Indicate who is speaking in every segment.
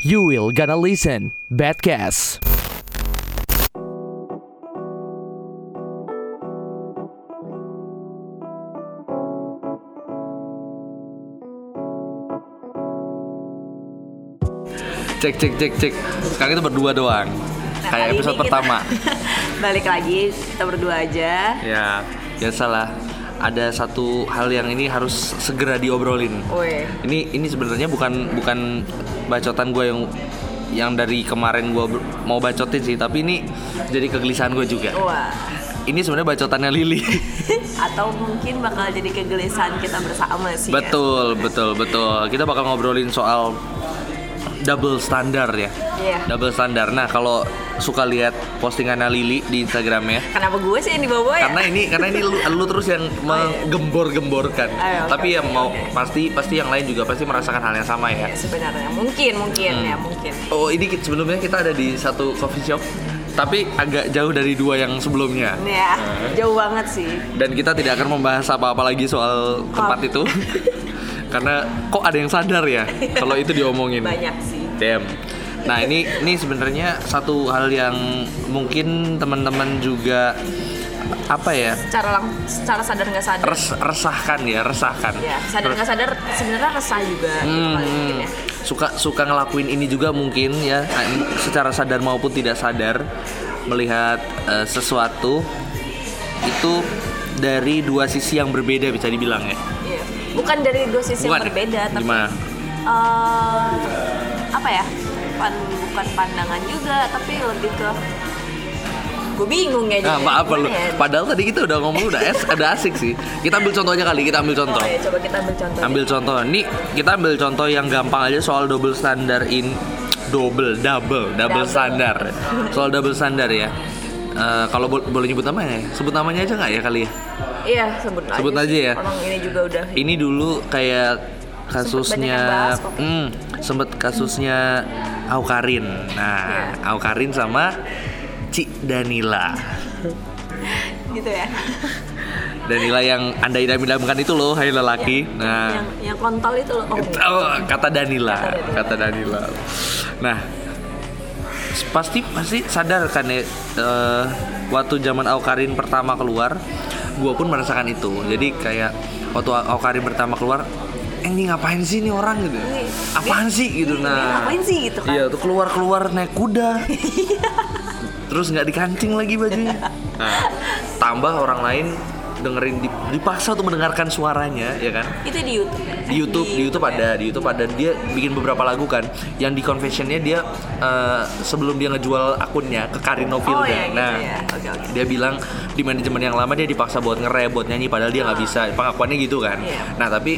Speaker 1: You will gonna listen Badcast.
Speaker 2: cek cek cek cek sekarang kita berdua doang
Speaker 3: Nah,
Speaker 2: kayak
Speaker 3: kali ini
Speaker 2: episode
Speaker 3: kita
Speaker 2: pertama
Speaker 3: balik lagi kita berdua aja.
Speaker 2: ya biasalah ada satu hal yang ini harus segera diobrolin
Speaker 3: Woi.
Speaker 2: ini ini sebenarnya bukan bukan bacotan gue yang yang dari kemarin gue mau bacotin sih tapi ini jadi kegelisahan gue juga
Speaker 3: Wah.
Speaker 2: ini sebenarnya bacotannya Lili
Speaker 3: Atau mungkin bakal jadi kegelisahan kita bersama sih. ya.
Speaker 2: betul betul betul kita bakal ngobrolin soal double standar ya
Speaker 3: Iya.
Speaker 2: double standar nah kalau suka lihat postingannya Lili di ya, Instagramnya
Speaker 3: Kenapa gue sih yang dibawa ya?
Speaker 2: karena ini karena ini lu, lu terus yang menggembor-gemborkan
Speaker 3: Oh, iya. Ayo, oke,
Speaker 2: tapi ya
Speaker 3: oke,
Speaker 2: mau
Speaker 3: oke.
Speaker 2: pasti pasti yang lain juga pasti merasakan hal yang sama ya
Speaker 3: Ya, sebenarnya mungkin mungkin ya mungkin.
Speaker 2: oh ini ki- sebelumnya kita ada di satu coffee shop tapi agak jauh dari dua yang sebelumnya
Speaker 3: Ya jauh banget sih.
Speaker 2: dan kita tidak akan membahas apa-apa lagi soal tempat itu karena kok ada yang sadar ya kalau itu diomongin
Speaker 3: Banyak sih.
Speaker 2: Damn. Nah ini ini sebenarnya satu hal yang mungkin teman-teman juga apa ya
Speaker 3: Secara lang secara sadar nggak sadar.
Speaker 2: res, resahkan ya resahkan
Speaker 3: Ya sadar nggak sadar sebenarnya resah juga. Gitu, kali mungkin
Speaker 2: Hmm,
Speaker 3: ya.
Speaker 2: suka suka ngelakuin ini juga mungkin ya secara sadar maupun tidak sadar melihat eh, sesuatu itu dari dua sisi yang berbeda bisa dibilang ya
Speaker 3: Iya. Bukan dari dosis yang
Speaker 2: Bukan? ya?
Speaker 3: berbeda tapi iya,
Speaker 2: Gimana?
Speaker 3: eh, apa ya? Pan, bukan pandangan juga tapi lebih ke gue bingung ya
Speaker 2: Nah,
Speaker 3: jadinya.
Speaker 2: maaf lu.
Speaker 3: Gimana ya?
Speaker 2: Padahal tadi kita udah ngomong udah es, ada asik sih. Kita ambil contohnya kali, kita ambil contoh.
Speaker 3: Oh, ya, coba kita ambil contoh.
Speaker 2: Ambil contoh. Nih, kita ambil contoh yang gampang aja soal double standar in double, double, double,
Speaker 3: Double.
Speaker 2: standar. Soal double standar ya. Eh, kalau bo- boleh nyebut namanya, ya? sebut namanya aja nggak ya kali ya?
Speaker 3: Iya, sebut,
Speaker 2: Sebut aja
Speaker 3: sih.
Speaker 2: ya.
Speaker 3: Orang ini juga udah.
Speaker 2: ini dulu kayak kasusnya
Speaker 3: banyak yang bahas kok.
Speaker 2: hmm, sempet kasusnya Aukarin. Nah,
Speaker 3: Iya.
Speaker 2: Aukarin sama Cik Danila.
Speaker 3: Gitu ya.
Speaker 2: Danila yang Anda idam-idamkan itu loh, hai lelaki.
Speaker 3: Iya.
Speaker 2: Nah,
Speaker 3: yang yang kontol itu loh. Oh,
Speaker 2: Oh, kata Danila,
Speaker 3: Kata Danila.
Speaker 2: kata Danila. Nah, s- pasti pasti sadar kan ya eh, waktu zaman Aukarin pertama keluar, gua pun merasakan itu. Jadi kayak waktu Au- Aukarin pertama keluar, "Eh, ini ngapain sih nih orang gitu?
Speaker 3: Ini-
Speaker 2: Apaan sih gitu
Speaker 3: ini
Speaker 2: nah?
Speaker 3: Iya. ngapain sih gitu kan? Iya.
Speaker 2: Iya, tuh keluar keluar naik kuda. Terus nggak dikancing lagi bajunya. Nah, tambah orang lain dengerin di- dipaksa untuk mendengarkan suaranya, ya kan?
Speaker 3: itu di YouTube. ya?
Speaker 2: di YouTube di YouTube ada di YouTube ada dia bikin beberapa lagu kan yang di confessionnya dia eh, sebelum dia ngejual akunnya ke Karin Novilda
Speaker 3: Oh, iya, gitu
Speaker 2: nah
Speaker 3: ya. Oke, oke.
Speaker 2: dia bilang di manajemen yang lama dia dipaksa buat ngerap buat nyanyi padahal dia nggak bisa pengakuannya gitu kan
Speaker 3: Ah. Iya.
Speaker 2: nah tapi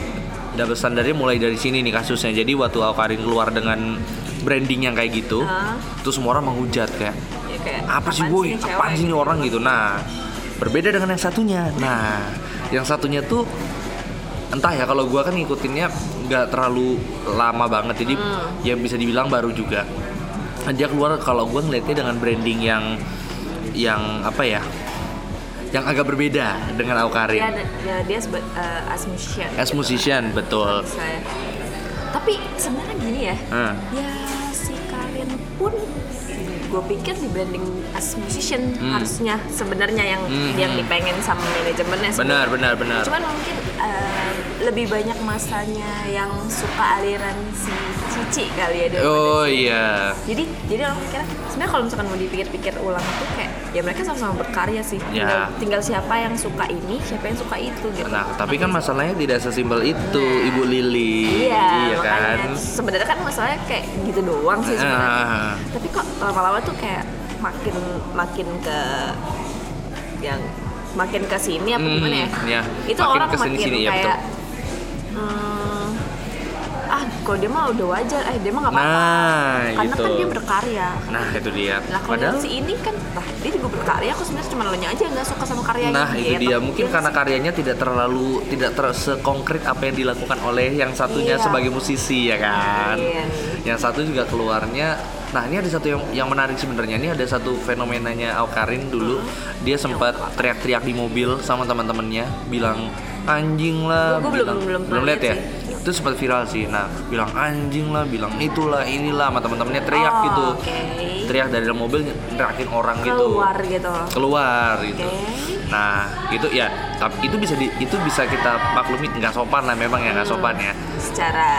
Speaker 2: double standarnya mulai dari sini nih kasusnya jadi waktu Al Karin keluar dengan branding yang kayak gitu
Speaker 3: Hah?
Speaker 2: terus semua orang menghujat kayak
Speaker 3: Ya, kayak,
Speaker 2: apa sih
Speaker 3: apaan
Speaker 2: boy
Speaker 3: ini cewek?
Speaker 2: apaan sih ini orang gitu nah berbeda dengan yang satunya nah yang satunya tuh entah ya kalau gua kan ngikutinnya nggak terlalu lama banget jadi
Speaker 3: Hmm.
Speaker 2: ya bisa dibilang baru juga dia keluar kalau gua ngeliatnya dengan branding yang yang apa ya yang agak berbeda dengan
Speaker 3: Dia
Speaker 2: Aukarin
Speaker 3: Iya, ada- dia, dia sebe- eh, as musician.
Speaker 2: as musician betul
Speaker 3: Saya. Tapi sebenarnya gini ya.
Speaker 2: Hmm.
Speaker 3: Ya si Karin pun gue pikir di branding as musician harusnya sebenarnya yang
Speaker 2: Hmm,
Speaker 3: yang
Speaker 2: hmm.
Speaker 3: dipengen sama manajemennya
Speaker 2: benar benar benar
Speaker 3: Cuman mungkin eh, lebih banyak masanya yang suka aliran si Cici kali ya daripada-
Speaker 2: oh iya
Speaker 3: Jadi jadi orang mikirnya sebenarnya kalau misalkan mau dipikir-pikir ulang tuh kayak ya mereka sama-sama berkarya sih. Tinggal,
Speaker 2: Ya.
Speaker 3: tinggal siapa yang suka ini, siapa yang suka itu gitu.
Speaker 2: nah tapi kan masalahnya tidak sesimpel itu Ibu Lili
Speaker 3: Iya,
Speaker 2: kan
Speaker 3: makanya sebenarnya kan masalahnya kayak gitu doang sih sebenarnya.
Speaker 2: Ah.
Speaker 3: Tapi kok lama-lama tuh kayak makin makin ke yang makin ke sini apa
Speaker 2: Hmm,
Speaker 3: gimana ya?
Speaker 2: iya.
Speaker 3: Itu
Speaker 2: Makin
Speaker 3: orang
Speaker 2: kesini-sini,
Speaker 3: makin
Speaker 2: ya,
Speaker 3: kayak hmm, eh, ah ah kalau dia mah udah wajar eh dia mah nggak apa-apa
Speaker 2: Nah,
Speaker 3: karena
Speaker 2: gitu.
Speaker 3: kan dia berkarya
Speaker 2: Nah, itu dia.
Speaker 3: lah kalau
Speaker 2: Padahal
Speaker 3: si ini kan lah dia juga berkarya aku sebenarnya cuma lo nya aja yang nggak suka sama karyanya
Speaker 2: Nah, itu
Speaker 3: gitu.
Speaker 2: dia. Mungkin
Speaker 3: Dia
Speaker 2: karena karyanya tidak terlalu tidak ter sekonkret apa yang dilakukan oleh yang satunya
Speaker 3: Iya.
Speaker 2: sebagai musisi ya kan.
Speaker 3: Iya.
Speaker 2: Yang satu juga keluarnya. Nah, ini ada satu yang yang menarik sebenarnya. Ini ada satu fenomenanya Aukarin dulu. Dia sempat teriak-teriak di mobil sama teman-temannya bilang anjing lah,
Speaker 3: Gua- gua belum-
Speaker 2: bilang
Speaker 3: belum pernah
Speaker 2: lihat ya.
Speaker 3: lihat sih.
Speaker 2: Itu sempat viral sih. Nah, bilang anjing lah, bilang itulah, inilah sama teman-temannya teriak
Speaker 3: Oh,
Speaker 2: gitu.
Speaker 3: oke.
Speaker 2: Teriak dari dalam mobil teriakin orang gitu
Speaker 3: keluar gitu
Speaker 2: keluar gitu.
Speaker 3: Oke.
Speaker 2: Nah, itu ya tapi itu bisa di- itu bisa kita maklumi nggak sopan lah memang ya nggak
Speaker 3: Hmm.
Speaker 2: sopan ya
Speaker 3: secara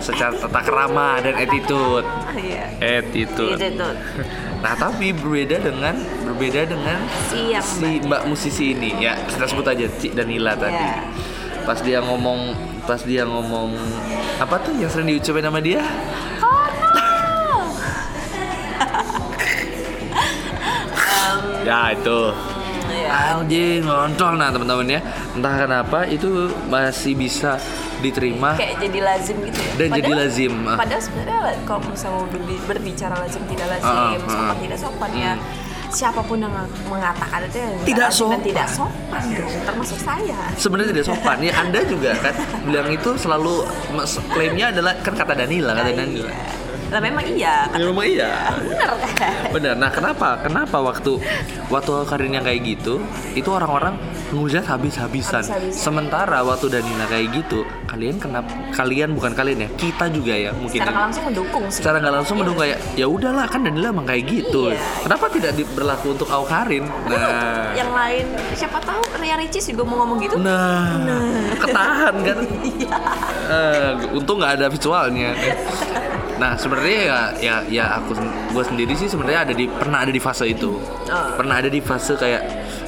Speaker 2: secara tata kerama dan attitude.
Speaker 3: Ah, iya gitu
Speaker 2: Attitude.
Speaker 3: tuh
Speaker 2: Eh, Nah, tapi berbeda dengan berbeda dengan
Speaker 3: Si yang
Speaker 2: si Mbak musisi ini ya kita sebut aja Cik Danila tadi.
Speaker 3: Iya.
Speaker 2: Pas dia ngomong pas dia ngomong apa tuh yang sering diucapin sama dia? Ya itu.
Speaker 3: Iya.
Speaker 2: anjing lontol nah teman-teman ya entah kenapa itu masih bisa diterima
Speaker 3: kayak jadi lazim gitu ya.
Speaker 2: Dan jadi lazim, ah.
Speaker 3: Padahal sebenarnya la- kalau misalnya mau berbi- berbicara lazim tidak lazim,
Speaker 2: Ah, ah,
Speaker 3: sopan
Speaker 2: ah.
Speaker 3: tidak sopan ya.
Speaker 2: Hmm.
Speaker 3: Siapapun yang mengatakan itu yang
Speaker 2: Tidak
Speaker 3: lazim dan
Speaker 2: sopan.
Speaker 3: tidak sopan gitu, termasuk saya.
Speaker 2: sebenarnya tidak sopan ya anda juga kan bilang itu selalu mas- klaimnya adalah kan kata Danila kata Danila
Speaker 3: Iya. Lah memang iya, kan
Speaker 2: ya rumah iya
Speaker 3: benar kan?
Speaker 2: benar nah kenapa kenapa waktu waktu Karin yang kayak gitu itu orang-orang ngujat habis-habisan
Speaker 3: Habis-habisan.
Speaker 2: sementara waktu Danila kayak gitu kalian kenapa kalian bukan kalian ya kita juga ya mungkin
Speaker 3: Secara
Speaker 2: ya.
Speaker 3: nggak langsung mendukung sih.
Speaker 2: secara nggak langsung mendung kayak ya udahlah kan Danila emang kayak gitu
Speaker 3: Iya.
Speaker 2: kenapa tidak di- berlaku untuk Aukarin nah
Speaker 3: Yang lain siapa tahu Ria Ricis juga mau ngomong gitu.
Speaker 2: nah ketahan kan
Speaker 3: Iya.
Speaker 2: Eh, untung nggak ada visualnya nah sebenarnya ya ya ya aku gue sendiri sih sebenarnya ada di pernah ada di fase itu
Speaker 3: Oh.
Speaker 2: pernah ada di fase kayak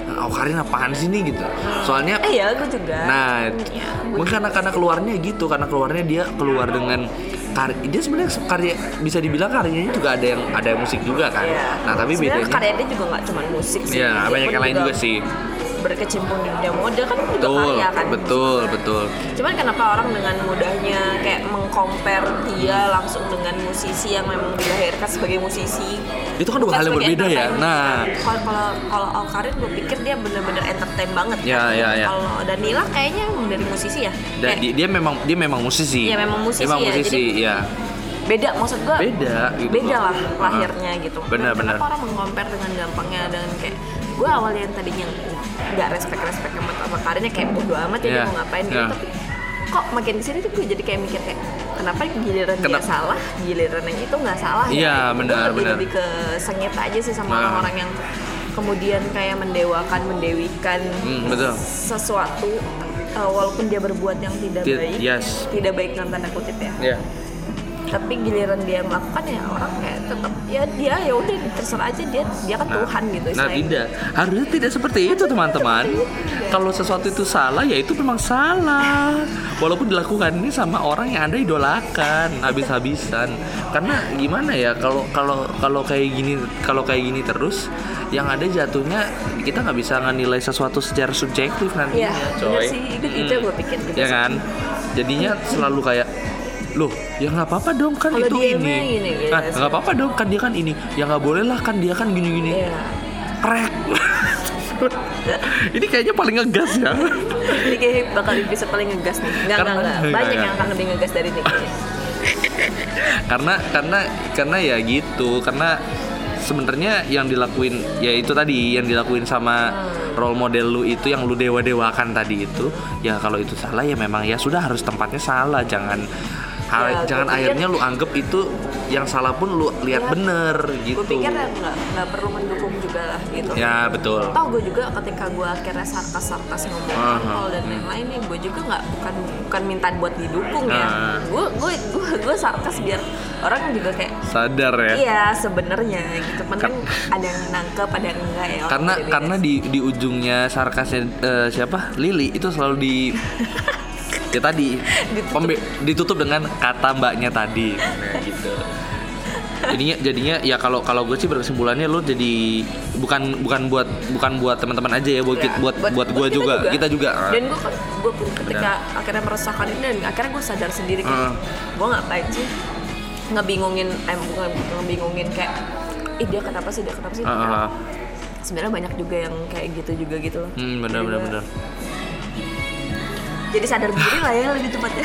Speaker 2: Aukarin apaan sih nih gitu soalnya
Speaker 3: Eh ya, gue juga.
Speaker 2: Nah,
Speaker 3: Iya.
Speaker 2: mungkin karena karena keluarnya gitu, karena keluarnya dia keluar dengan karya dia sebenarnya karya bisa dibilang karyanya juga ada yang ada yang musik juga kan.
Speaker 3: Iya.
Speaker 2: Nah, tapi
Speaker 3: Sebenarnya
Speaker 2: bedanya
Speaker 3: karya dia juga nggak cuma musik sih.
Speaker 2: Iya,
Speaker 3: Dia
Speaker 2: banyak
Speaker 3: pun
Speaker 2: yang lain juga sih.
Speaker 3: Berkecimpung di dunia mode kan juga
Speaker 2: Betul,
Speaker 3: karya kan.
Speaker 2: betul, betul.
Speaker 3: Cuman kenapa orang dengan mudahnya kayak mengkompar dia langsung dengan musisi yang memang dilahirkan sebagai musisi?
Speaker 2: Itu kan dua
Speaker 3: Bukan
Speaker 2: hal yang
Speaker 3: sebagai
Speaker 2: berbeda ya.
Speaker 3: entertainment.
Speaker 2: Nah.
Speaker 3: kalau kalau kalau Alkarin gue pikir dia bener-bener entertain banget.
Speaker 2: Ya,
Speaker 3: kan.
Speaker 2: ya, ya.
Speaker 3: Kalau Danila kayaknya emang dari musisi ya.
Speaker 2: Dan
Speaker 3: Kayak
Speaker 2: di- dia memang dia memang musisi.
Speaker 3: Iya, memang musisi
Speaker 2: Memang
Speaker 3: ya,
Speaker 2: musisi,
Speaker 3: jadi-
Speaker 2: ya.
Speaker 3: beda maksud gue.
Speaker 2: Beda gitu
Speaker 3: beda
Speaker 2: loh.
Speaker 3: lah lahirnya gitu. Dan
Speaker 2: Benar, benar.
Speaker 3: Kenapa orang mengkompar dengan gampangnya dengan kayak gue awalnya yang tadinya nggak respect respect sama sama Karin ya kayak bodo amat ya dia
Speaker 2: Iya,
Speaker 3: mau ngapain gitu
Speaker 2: iya.
Speaker 3: tapi kok makin kesini tuh gue jadi kayak mikir kayak kenapa giliran dia
Speaker 2: Kenapa-
Speaker 3: salah giliran yang itu nggak salah
Speaker 2: Iya,
Speaker 3: Gue
Speaker 2: benar,
Speaker 3: lebih-
Speaker 2: benar.
Speaker 3: lebih ke sengit aja sih sama
Speaker 2: Nah.
Speaker 3: orang-orang yang kemudian kayak mendewakan mendewikan
Speaker 2: Hmm, betul.
Speaker 3: sesuatu eh, walaupun dia berbuat yang tidak
Speaker 2: Ti-
Speaker 3: baik
Speaker 2: yes.
Speaker 3: tidak baik dalam tanda kutip ya
Speaker 2: Iya.
Speaker 3: tapi giliran dia melakukan ya orang kayak tetap ya dia ya udah terserah aja dia dia kan Tuhan gitu
Speaker 2: Nah,
Speaker 3: istilahnya.
Speaker 2: tidak. Harusnya tidak seperti itu, teman-teman. Kalau sesuatu itu salah, ya itu memang salah. Walaupun dilakukan ini sama orang yang Anda idolakan habis-habisan. Karena gimana ya kalau kalau kalau kayak gini kalau kayak gini terus yang ada jatuhnya kita nggak bisa nilai sesuatu secara subjektif nantinya,
Speaker 3: Iya, bener
Speaker 2: coy.
Speaker 3: sih. Itu- itu yang gua pikir juga
Speaker 2: Ya
Speaker 3: sih.
Speaker 2: kan? Jadinya selalu kayak loh, ya nggak apa-apa dong kan
Speaker 3: Kalau
Speaker 2: itu
Speaker 3: dia
Speaker 2: ini.
Speaker 3: emang gini, gitu.
Speaker 2: Ah, nggak apa-apa dong kan dia kan ini. Ya nggak boleh lah kan dia kan gini-gini
Speaker 3: Iya.
Speaker 2: krek ini kayaknya paling ngegas ya
Speaker 3: Ini kayak bakal bisa paling ngegas nih. Enggak,
Speaker 2: Karena- Gitu.
Speaker 3: enggak, enggak.
Speaker 2: Enggak,
Speaker 3: Banyak
Speaker 2: enggak.
Speaker 3: yang akan lebih ngegas dari ini. kayaknya.
Speaker 2: karena karena karena ya gitu karena sebenarnya yang dilakuin ya itu tadi yang dilakuin sama
Speaker 3: Hmm.
Speaker 2: role model lu itu yang lu dewa dewakan tadi itu ya kalau itu salah ya memang ya sudah harus tempatnya salah jangan ha-
Speaker 3: Ya, gua
Speaker 2: jangan
Speaker 3: pikir-
Speaker 2: akhirnya lu anggap itu yang salah pun lu lihat
Speaker 3: Ya.
Speaker 2: bener gitu
Speaker 3: Gue pikir ya enggak, enggak perlu mendukung juga lah gitu.
Speaker 2: ya betul
Speaker 3: Tau gue juga ketika gue akhirnya sarkas-sarkas ngomong
Speaker 2: Aha. Hmm.
Speaker 3: kontol dan lain-lain nih Gue juga nggak bukan bukan minta buat didukung ya
Speaker 2: Nah.
Speaker 3: Gue gue gue gue sarkas biar orang juga kayak
Speaker 2: sadar ya
Speaker 3: Iya sebenarnya gitu penting ada yang nangkep ada yang enggak ya orang
Speaker 2: karena
Speaker 3: beda-beda
Speaker 2: karena di di ujungnya sarkasnya eh, siapa Lili itu selalu di ya tadi pembe- ditutup. dengan kata mbaknya tadi Nah, gitu jadinya jadinya ya kalau kalau gue sih berkesimpulannya lu jadi bukan bukan buat bukan buat teman-teman aja ya buat
Speaker 3: Ya,
Speaker 2: kit- buat buat, gue
Speaker 3: kita
Speaker 2: juga, kita juga
Speaker 3: dan gue gue ketika akhirnya meresahkan ini dan akhirnya gue sadar sendiri
Speaker 2: Heeh.
Speaker 3: kan gue ngapain sih ngebingungin em bukan ngebingungin kayak ih dia kenapa sih dia kenapa sih
Speaker 2: Ah, ah, ah.
Speaker 3: sebenarnya banyak juga yang kayak gitu juga gitu loh
Speaker 2: Hmm, benar benar
Speaker 3: Jadi
Speaker 2: benar.
Speaker 3: gua- jadi sadar diri lah ya lebih tepatnya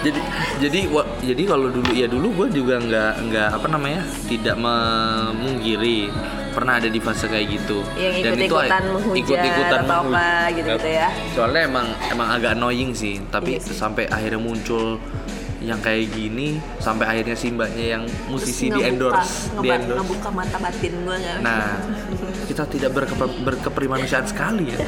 Speaker 2: jadi jadi wa- jadi kalau dulu ya dulu gue juga nggak nggak apa namanya tidak memungkiri pernah ada di fase kayak gitu
Speaker 3: Yang
Speaker 2: Dan itu
Speaker 3: ikut-ikutan
Speaker 2: a-
Speaker 3: menghujat
Speaker 2: ikut-ikutan
Speaker 3: atau
Speaker 2: menghujat.
Speaker 3: apa gitu-gitu ya.
Speaker 2: soalnya emang emang agak annoying sih
Speaker 3: Iya
Speaker 2: tapi
Speaker 3: sih.
Speaker 2: sampai akhirnya muncul yang kayak gini sampai akhirnya si mbaknya yang
Speaker 3: Terus
Speaker 2: musisi di
Speaker 3: ngebuka-
Speaker 2: endorse
Speaker 3: ngeba-
Speaker 2: di endorse
Speaker 3: ngebuka mata batin kan. gue nggak
Speaker 2: Nah, kita tidak berkepe- berkeprimanusiaan sekali ya.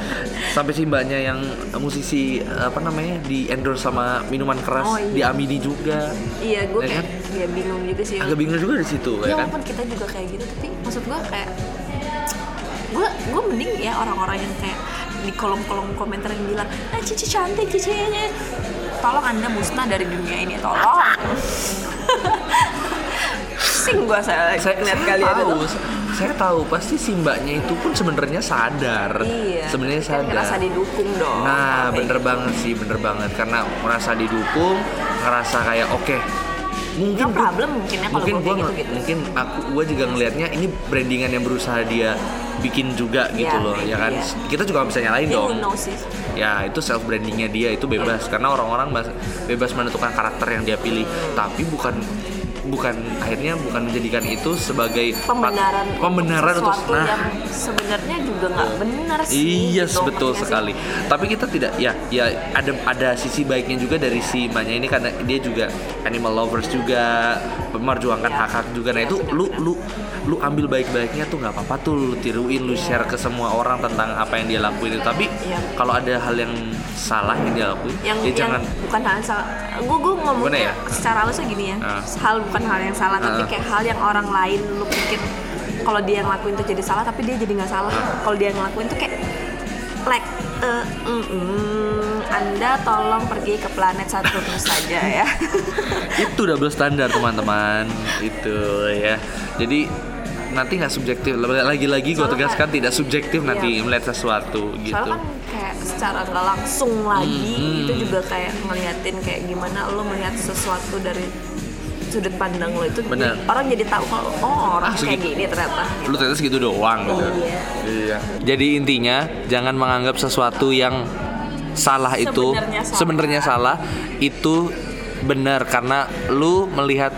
Speaker 2: Sampai si mbaknya yang musisi apa namanya di endorse sama minuman keras
Speaker 3: Oh, iya.
Speaker 2: diamini juga.
Speaker 3: iya gue
Speaker 2: Ya
Speaker 3: kayak ya bingung juga sih
Speaker 2: Agak bingung juga di situ
Speaker 3: ya
Speaker 2: ya kan.
Speaker 3: walaupun kita juga kayak gitu tapi maksud gue kayak gue gue mending ya orang-orang yang kayak di kolom-kolom komentar yang bilang ah cici cantik cici ini." tolong anda musnah dari dunia ini tolong pusing gue saya
Speaker 2: Saya,
Speaker 3: lihat
Speaker 2: saya
Speaker 3: kalian
Speaker 2: tahu,
Speaker 3: itu
Speaker 2: saya tahu pasti si mbaknya itu pun sebenarnya sadar.
Speaker 3: iya
Speaker 2: Sebenarnya
Speaker 3: tapi kan
Speaker 2: sadar.
Speaker 3: ngerasa didukung dong
Speaker 2: Nah,
Speaker 3: Kayak
Speaker 2: bener banget sih, bener banget karena merasa didukung, ngerasa kayak oke. Mungkin
Speaker 3: No
Speaker 2: gua-
Speaker 3: problem mungkin ya kalau
Speaker 2: mungkin
Speaker 3: gua
Speaker 2: gua
Speaker 3: kayak
Speaker 2: nge-
Speaker 3: gitu-gitu.
Speaker 2: mungkin aku gua juga ngelihatnya ini brandingan yang berusaha dia bikin juga gitu
Speaker 3: Ya,
Speaker 2: loh, ya kan.
Speaker 3: iya.
Speaker 2: Kita juga nggak bisa nyalain
Speaker 3: Tapi
Speaker 2: dong.
Speaker 3: who knows sih Iya.
Speaker 2: Ya, itu self brandingnya dia itu bebas karena orang-orang bas- bebas menentukan karakter yang dia pilih,
Speaker 3: Hmm.
Speaker 2: tapi bukan bukan akhirnya bukan menjadikan itu sebagai pat-
Speaker 3: pembenaran
Speaker 2: pembenaran untuk,
Speaker 3: sesuatu
Speaker 2: nah,
Speaker 3: yang sebenarnya juga nggak benar sih
Speaker 2: Iya,
Speaker 3: gitu,
Speaker 2: betul
Speaker 3: ngerti nggak sih?
Speaker 2: sekali. Tapi kita tidak ya ya ada ada sisi baiknya juga dari si mbaknya ini karena dia juga animal lovers juga memperjuangkan
Speaker 3: Iya.
Speaker 2: hak-hak juga. Nah,
Speaker 3: Iya,
Speaker 2: itu lu
Speaker 3: benar-benar.
Speaker 2: lu lu ambil baik-baiknya tuh nggak apa-apa tuh lu tiruin lu share ke semua orang tentang apa yang dia lakuin itu. Tapi
Speaker 3: Iya.
Speaker 2: kalau ada hal yang salah yang dia lakuin,
Speaker 3: yang,
Speaker 2: ya
Speaker 3: yang
Speaker 2: jangan
Speaker 3: bukan hal yang salah gue gue ngomongnya
Speaker 2: Gimana ya?
Speaker 3: secara halusnya gini ya
Speaker 2: Ah.
Speaker 3: hal bukan hal yang salah tapi
Speaker 2: Ah.
Speaker 3: kayak hal yang orang lain lu pikir kalau dia ngelakuin itu jadi salah tapi dia jadi nggak salah
Speaker 2: Ah.
Speaker 3: kalau dia ngelakuin tuh kayak like eh, mm, mm, anda tolong pergi ke planet satu terus saja ya
Speaker 2: itu double standar teman-teman itu ya jadi nanti nggak subjektif lagi-lagi gue
Speaker 3: Soalnya
Speaker 2: tegaskan
Speaker 3: kan-
Speaker 2: tidak subjektif
Speaker 3: Iya.
Speaker 2: nanti melihat sesuatu gitu
Speaker 3: soalnya kan kayak secara nggak langsung lagi
Speaker 2: Hmm,
Speaker 3: itu
Speaker 2: hmm.
Speaker 3: juga kayak ngeliatin kayak gimana lo melihat sesuatu dari sudut pandang lo itu
Speaker 2: Bener.
Speaker 3: orang jadi tahu kalau oh orang
Speaker 2: Ah,
Speaker 3: kayak
Speaker 2: segi-
Speaker 3: gini ternyata
Speaker 2: lu ternyata segitu doang gitu.
Speaker 3: Iya.
Speaker 2: Iya. Jadi intinya jangan menganggap sesuatu yang salah itu
Speaker 3: Sebenarnya salah.
Speaker 2: sebenarnya salah itu benar karena lu melihat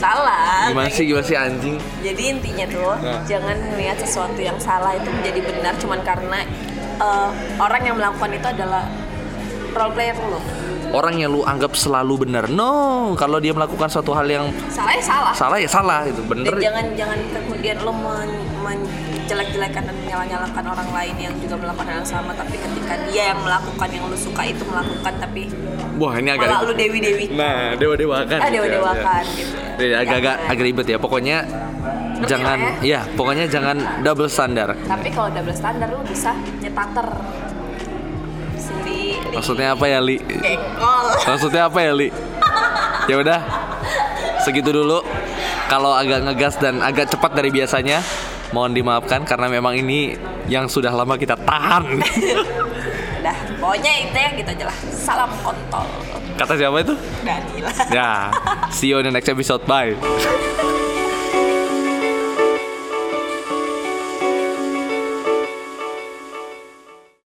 Speaker 3: salah
Speaker 2: gimana
Speaker 3: kayak
Speaker 2: sih
Speaker 3: gitu.
Speaker 2: gimana sih anjing
Speaker 3: jadi intinya tuh jangan melihat sesuatu yang salah itu menjadi benar cuman karena eh, orang yang melakukan itu adalah role player lo
Speaker 2: orang yang lu anggap selalu benar no kalau dia melakukan suatu hal yang
Speaker 3: salahnya salah
Speaker 2: salah ya salah itu bener
Speaker 3: dan jangan jangan kemudian lo men- menjelek-jelekan dan menyalah-nyalahkan orang lain yang juga melakukan hal yang sama tapi ketika dia yang melakukan yang lo suka itu melakukan tapi
Speaker 2: wah ini agak
Speaker 3: malah lo dewi-dewi
Speaker 2: nah dewa dewakan
Speaker 3: Ah, dewa-dewakan gitu ya.
Speaker 2: Iya. agak-agak
Speaker 3: Jangan.
Speaker 2: agak ribet ya pokoknya
Speaker 3: Ngerti
Speaker 2: jangan
Speaker 3: lah
Speaker 2: ya pokoknya jangan double standar
Speaker 3: tapi kalau double standar lo bisa nyetater sendiri
Speaker 2: maksudnya apa ya li
Speaker 3: kekol
Speaker 2: Maksudnya apa ya, Li? Ya udah. Segitu dulu. Kalau agak ngegas dan agak cepat dari biasanya, mohon dimaafkan karena memang ini yang sudah lama kita tahan.
Speaker 3: Udah, pokoknya itu ya gitu aja lah. Salam kontol.
Speaker 2: Kata siapa itu?
Speaker 3: Danila.
Speaker 2: Ya. See you in the next episode. Bye.